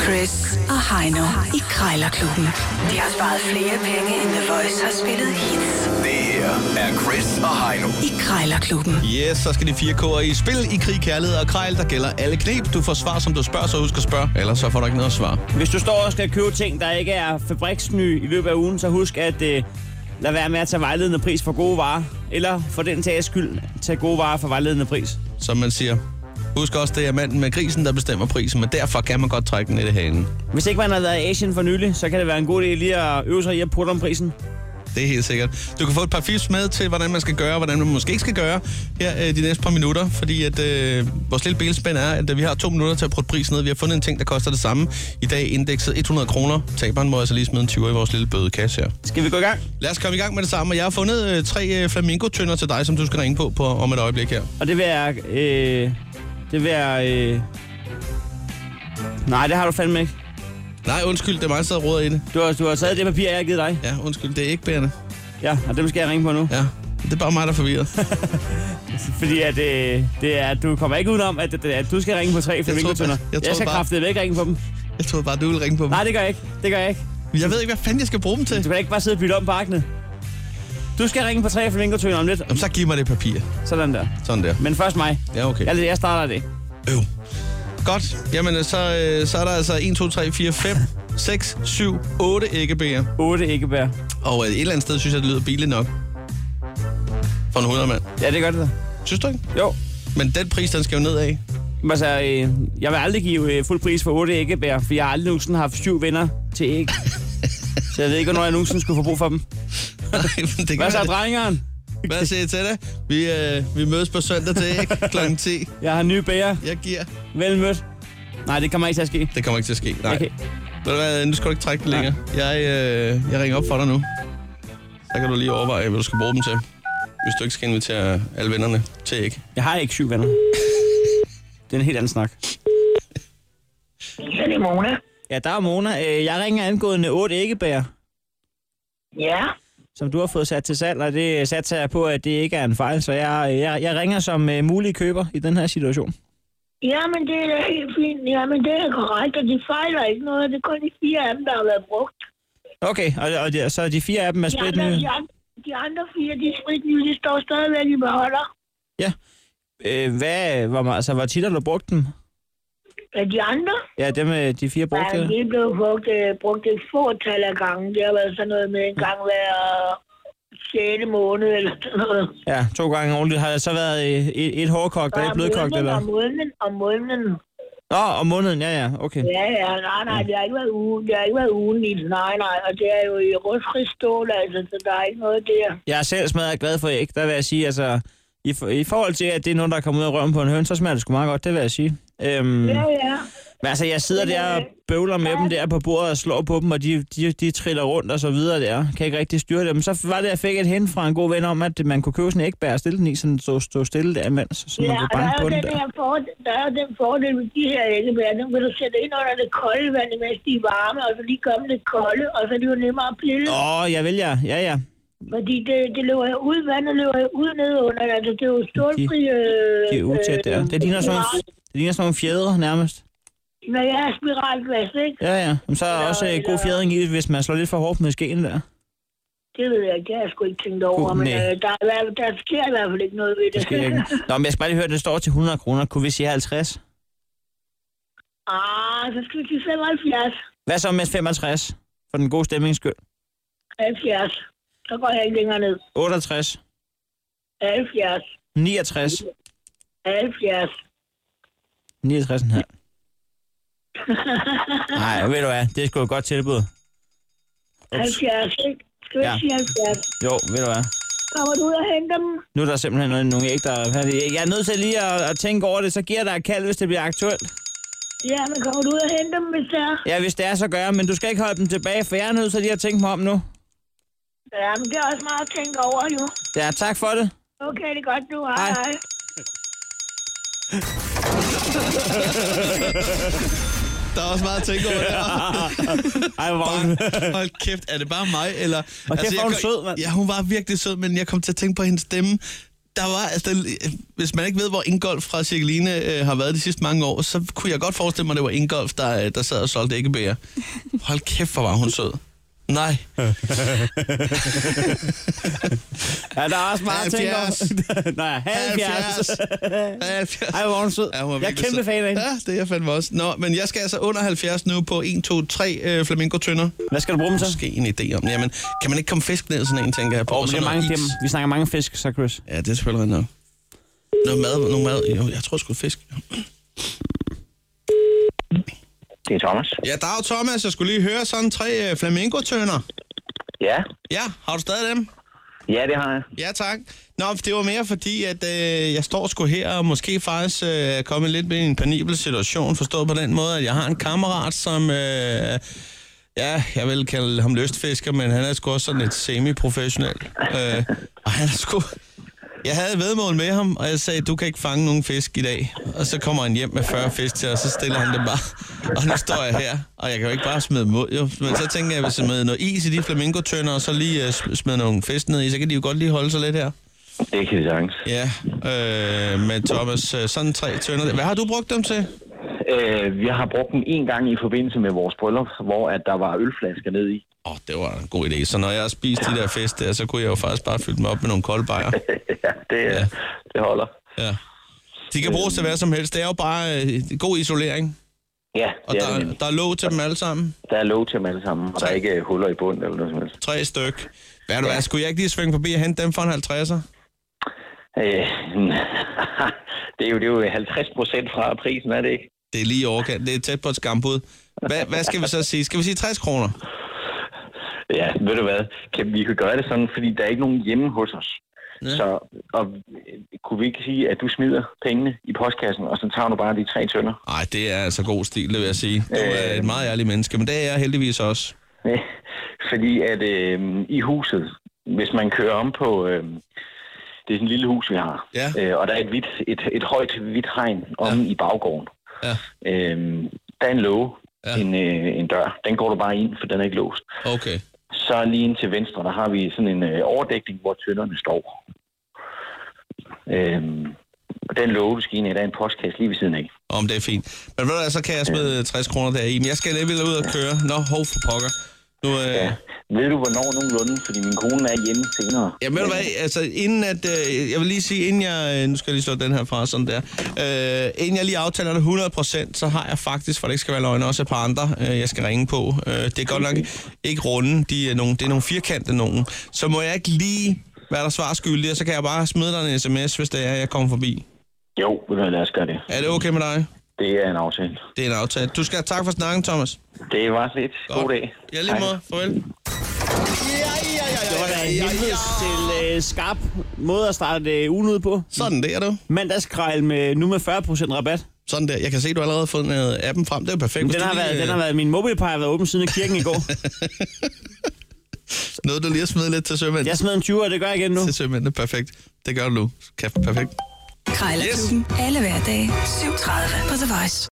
Chris og Heino i Krejlerklubben. De har sparet flere penge, end The Voice har spillet hits Det her er Chris og Heino. i Krejlerklubben. Yes, så skal de fire kår i spil i krig, kærlighed og krejl. Der gælder alle knep. Du får svar, som du spørger, så husk at spørge. Ellers så får du ikke noget at svare. Hvis du står og skal købe ting, der ikke er fabriksny i løbet af ugen, så husk at øh, lad være med at tage vejledende pris for gode varer. Eller for den tages skyld, tage gode varer for vejledende pris. Som man siger. Husk også, det er manden med grisen, der bestemmer prisen, men derfor kan man godt trække den lidt i hanen. Hvis ikke man har været i Asien for nylig, så kan det være en god idé lige at øve sig i at putte om prisen. Det er helt sikkert. Du kan få et par fifs med til, hvordan man skal gøre, og hvordan man måske ikke skal gøre her øh, de næste par minutter. Fordi at øh, vores lille bilspænd er, at øh, vi har to minutter til at prøve prisen ned. Vi har fundet en ting, der koster det samme. I dag indekset 100 kroner. Taberen må altså lige smide en 20 i vores lille bødekasse her. Skal vi gå i gang? Lad os komme i gang med det samme. og Jeg har fundet øh, tre øh, flamingotønder til dig, som du skal ringe på, på om et øjeblik her. Og det vil jeg... Øh, det vil jeg... Øh... Nej, det har du fandme ikke. Nej, undskyld, det er mig, der sidder og roder i det. Du har, du har taget det papir, jeg har givet dig. Ja, undskyld, det er ikke bærende. Ja, og dem skal jeg ringe på nu. Ja, det er bare mig, der er forvirret. Fordi at, øh, det er, du kommer ikke udenom, at, at, at du skal ringe på tre flamingotønder. bare- jeg Jeg, troede jeg skal bare- kraftedeme ikke ringe på dem. Jeg troede bare, du ville ringe på mig. Nej, det gør jeg ikke. Det gør jeg ikke. Jeg ved ikke, hvad fanden jeg skal bruge dem til. Du kan da ikke bare sidde og bytte om på arkene. Du skal ringe på tre flamingotønder om lidt. Jamen, så giv mig det papir. Sådan der. Sådan der. Men først mig. Ja, okay. Jeg, jeg starter det. Øv. Godt. Jamen, øh, så, øh, så er der altså 1, 2, 3, 4, 5, 6, 7, 8 æggebæger. 8 æggebær. Og øh, et eller andet sted synes jeg, det lyder billigt nok. For en 100 mand. Ja, det gør det da. Synes du ikke? Jo. Men den pris, den skal jo nedad. Men Altså, øh, jeg vil aldrig give øh, fuld pris for 8 æggebær, for jeg har aldrig nogensinde haft syv venner til æg. Så jeg ved ikke, hvornår jeg nogensinde skulle få brug for dem. det kan Hvad så, være- drengeren? Hvad siger I til det? Vi, øh, vi mødes på søndag til ikke? kl. 10. Jeg har nye bæger. Jeg giver. Vel mødt. Nej, det kommer ikke til at ske. Det kommer ikke til at ske. Nej. Okay. Okay. Ved du hvad, nu skal du ikke trække den længere. Jeg, øh, jeg ringer op for dig nu. Så kan du lige overveje, hvad du skal bruge dem til. Hvis du ikke skal invitere alle vennerne til ikke. Jeg har ikke syv venner. Det er en helt anden snak. Ja, det er Mona. Ja, der er Mona. Øh, Jeg ringer angående 8 æggebær. Ja, som du har fået sat til salg, og det satser jeg på, at det ikke er en fejl. Så jeg, jeg, jeg ringer som uh, mulig køber i den her situation. jamen det er da helt fint. Jamen det er korrekt, og de fejler ikke noget. Det er kun de fire af dem, der har været brugt. Okay, og, og de, så de fire af dem er De split andre, nye. de, andre, de andre fire, de er spritnye, de står stadigvæk i beholder. Øh, hvad, hvor, meget- altså, hvor tit har du brugt dem? Men de andre, Ja, dem, øh, de fire brugte. ja, de er blevet brugt, øh, brugt et fåtal af gange. Det har været sådan noget med en gang hver 6. måned eller sådan noget. Ja, to gange ordentligt. Har det så været øh, et, et hårdkogt og et Om blødkogt? måneden, Eller? Om måneden, om måneden. Nå, om måneden, ja, ja, okay. Ja, ja, nej, nej, det har ikke været ugen, det har ikke været ugen i nej, nej, og det er jo i rustfri stål, altså, så der er ikke noget der. Jeg er selv smadret glad for æg, der vil jeg sige, altså... I, for, I forhold til, at det er nogen, der er kommet ud af røven på en høn, så smager det sgu meget godt, det vil jeg sige. Øhm, Ja, ja. Men altså, jeg sidder Men, der og øh, bøvler med dem der på bordet og slår på dem, og de, de, de triller rundt og så videre der. Kan ikke rigtig styre dem. Så var det, jeg fik et hen fra en god ven om, at man kunne købe sådan en ægbær og stille den i, så den stod, stod stille der imens, så man Ja, kunne og der banke er, på jo den den der. her fordel, der er jo den fordel med de her æggebær. Dem kan du sætte ind under det kolde vand, mens de er varme, og så lige komme lidt kolde, og så er det jo nemmere at pille. Åh, oh, jeg vil ja. Ja, ja. Fordi det, det løber jo ud, vandet løber jo ud ned under, altså det er jo stålfri... Øh, De er utæt der. Det ligner sådan nogle, det ligner sådan nogle fjedre nærmest. Når jeg er spiralglas, ikke? Ja, ja. Men så er der også øh, god fjedring i, hvis man slår lidt for hårdt med skeen der. Det ved jeg ikke, det har jeg sgu ikke tænkt over, Uh, men nej. øh, der, er i hvert- der sker i hvert fald ikke noget ved det. Det skal jeg ikke. Nå, men jeg skal bare lige høre, at det står til 100 kroner. Kunne vi sige 50? ah, så skal vi til 75. Hvad så med 65? For den gode stemningsskyld. 70. Så går jeg ikke længere ned. 68? 70. 69? 70. 69,5. Nej, ved du hvad, det er sgu et godt tilbud. Ups. 70, ikke? Skal vi Ja. ikke sige 70? Jo, ved du hvad. Kommer du ud og henter dem? Nu er der simpelthen noget- nogle æg, der er færdige. Jeg er nødt til lige at, at tænke over det, så giver jeg dig et kald, hvis det bliver aktuelt. Ja, men kommer du ud og henter dem, hvis det er? Ja, hvis det er, så gør jeg, men du skal ikke holde dem tilbage, for jeg er nødt til lige at tænke mig om nu. Ja, men det er også meget at tænke over, jo. Ja, tak for det. Okay, det er godt nu. Hej, Hej. hej. Der er også meget at tænke over der. Ej, hvor var hun. Bare, hold kæft, er det bare mig? Eller, Altså, hvor er jeg hun kom- sød, mand. Ja, hun var virkelig sød, men jeg kom til at tænke på hendes stemme. der var, altså, den- hvis man ikke ved, hvor Ingolf fra Cirkeline øh, har været de sidste mange år, så kunne jeg godt forestille mig, at det var Ingolf, der, øh, der sad og solgte æggebæger. Hold kæft, hvor var hun sød. Nej. Ja, der er også meget ting over. Nej, 70. 70. Ej, hvor er hun sød. Ja, hun var jeg er virkelig kæmpe sød. fan af hende. Ja, det er jeg fandme også. Nå, men jeg skal altså under 70 nu på 1, 2, 3 øh, flamingo-tønder. Hvad skal du bruge dem til? Måske en idé om. Jamen, kan man ikke komme fisk ned i sådan en, tænker jeg på? Åh, Og men det så er noget mange, is. dem. Vi snakker mange fisk, så Chris. Ja, det er selvfølgelig rigtigt nok. Noget mad, noget mad. Jo, jeg tror sgu fisk. Det er Thomas. Ja, dag Thomas. Jeg skulle lige høre sådan tre øh, flamingotønder. Ja, Ja, har du stadig dem? ja det har jeg. Ja, tak. Nå, det var mere fordi, at øh, jeg står sgu her og måske faktisk øh, er kommet lidt med i en penibel situation, forstået på den måde, at jeg har en kammerat, som... Øh, ja, jeg vil kalde ham lystfisker, men han er sgu også sådan et semi-professionel. Øh, og han er sgu... Jeg havde et vedmål med ham, og jeg sagde, du kan ikke fange nogen fisk i dag. Og så kommer han hjem med 40 fisk til, og så stiller han dem bare. Og nu står jeg her, og jeg kan jo ikke bare smide dem ud. Jo. Men så tænker jeg, hvis jeg smider noget is i de flamingotønder, og så lige uh, smider nogle fisk ned i, så kan de jo godt lige holde sig lidt her. Det kan vi sagtens. Ja, øh, men Thomas, øh, sådan tre tønder. Hvad har du brugt dem til? Øh, vi har brugt den en gang i forbindelse med vores bryllup, hvor at der var ølflasker nede i. Åh, oh, det var en god idé. Så når jeg har spist de der fisk der, så kunne jeg jo faktisk bare fylde dem op med nogle kolde bajer. ja, det, ja. det holder. Ja. De kan bruges til hvad som helst. Det er jo bare øh, god isolering. Ja, Og det er, det der, nemlig. der er låg til dem alle sammen. der er lov til dem alle sammen, og der er ikke øh, huller i bunden eller noget som helst. Tre styk. Hvad du hvad, skulle jeg ikke lige svinge forbi og hente dem for en 50'er? Øh, det, er jo, det er jo 50 procent fra prisen, er det ikke? Det er lige i overkant. Det er tæt på et skambud. Hvad, hvad skal vi så sige? Skal vi sige 60 kroner? Ja, ved du hvad? Kan, vi kan gøre det sådan, fordi der er ikke nogen hjemme hos os. Ja. Ja. Så og, øh, kunne vi ikke sige, at du smider pengene i postkassen, og så tager du bare de tre tønder? Nej, det er altså god stil, det vil jeg sige. Du er Øh. et meget ærligt menneske, men det er jeg heldigvis også. Ja, Fordi at øh, i huset, hvis man kører om på... Øh, det er sådan et lille hus, vi har. Ja. Øh, og der er et, hvidt, et, et højt hvidt hegn om ja. i baggården. Ja. Øh, der er en låge, Ja. ja. en, øh, en dør. Den går du bare ind, for den er ikke låst. Okay. Så lige ind til venstre, der har vi sådan en øh, overdækning, hvor tønderne står. Øh, og den låge, du skal ind i, der er en postkasse lige ved siden af. Om det er fint. Men ved du hvad, så kan jeg smide 60 kroner der i. Men jeg skal alligevel ud og køre. Nå, hov for pokker. Nu, øh, Ja. ja. Ved du, hvornår nogenlunde? Fordi min kone er hjemme senere. Øh, Ja, ved du hvad, altså inden at, øh, jeg vil lige sige, inden jeg, øh, nu skal jeg lige slå den her fra, sådan der, øh, inden jeg lige aftaler det 100%, så har jeg faktisk, for det ikke skal være løgn, også et par andre, øh, jeg skal ringe på. Øh, det er godt nok ikke runde, de er nogle, det er nogle firkantede nogen. Så må jeg ikke lige være der svar skyldig, og så kan jeg bare smide dig en sms, hvis det er, jeg kommer forbi. Jo, ved du hvad, lad os gøre det. Er det okay med dig? Det er en aftale. Det er en aftale. Du skal have tak for snakken, Thomas. Det var så lidt. God dag. Ja, lige måde. Farvel. Det var da en helvedes til øh, skarp måde at starte øh, ugen ud på. Sådan der, du. Mandagskrejl med, nu med 40% rabat. Sådan der. Jeg kan se, du har allerede har fundet øh, appen frem. Det er jo perfekt. Hvis Den du har, lige, været, øh, den har været, min mobilpej har været åben siden kirken i går. Noget, du lige har smidt lidt til sømænd. Jeg smed en 20, og det gør jeg igen nu. til sømændene. Perfekt. Det gør du nu. Kæft, perfekt. Krejlerklubben. Alle hverdage. 7.30 på The Voice.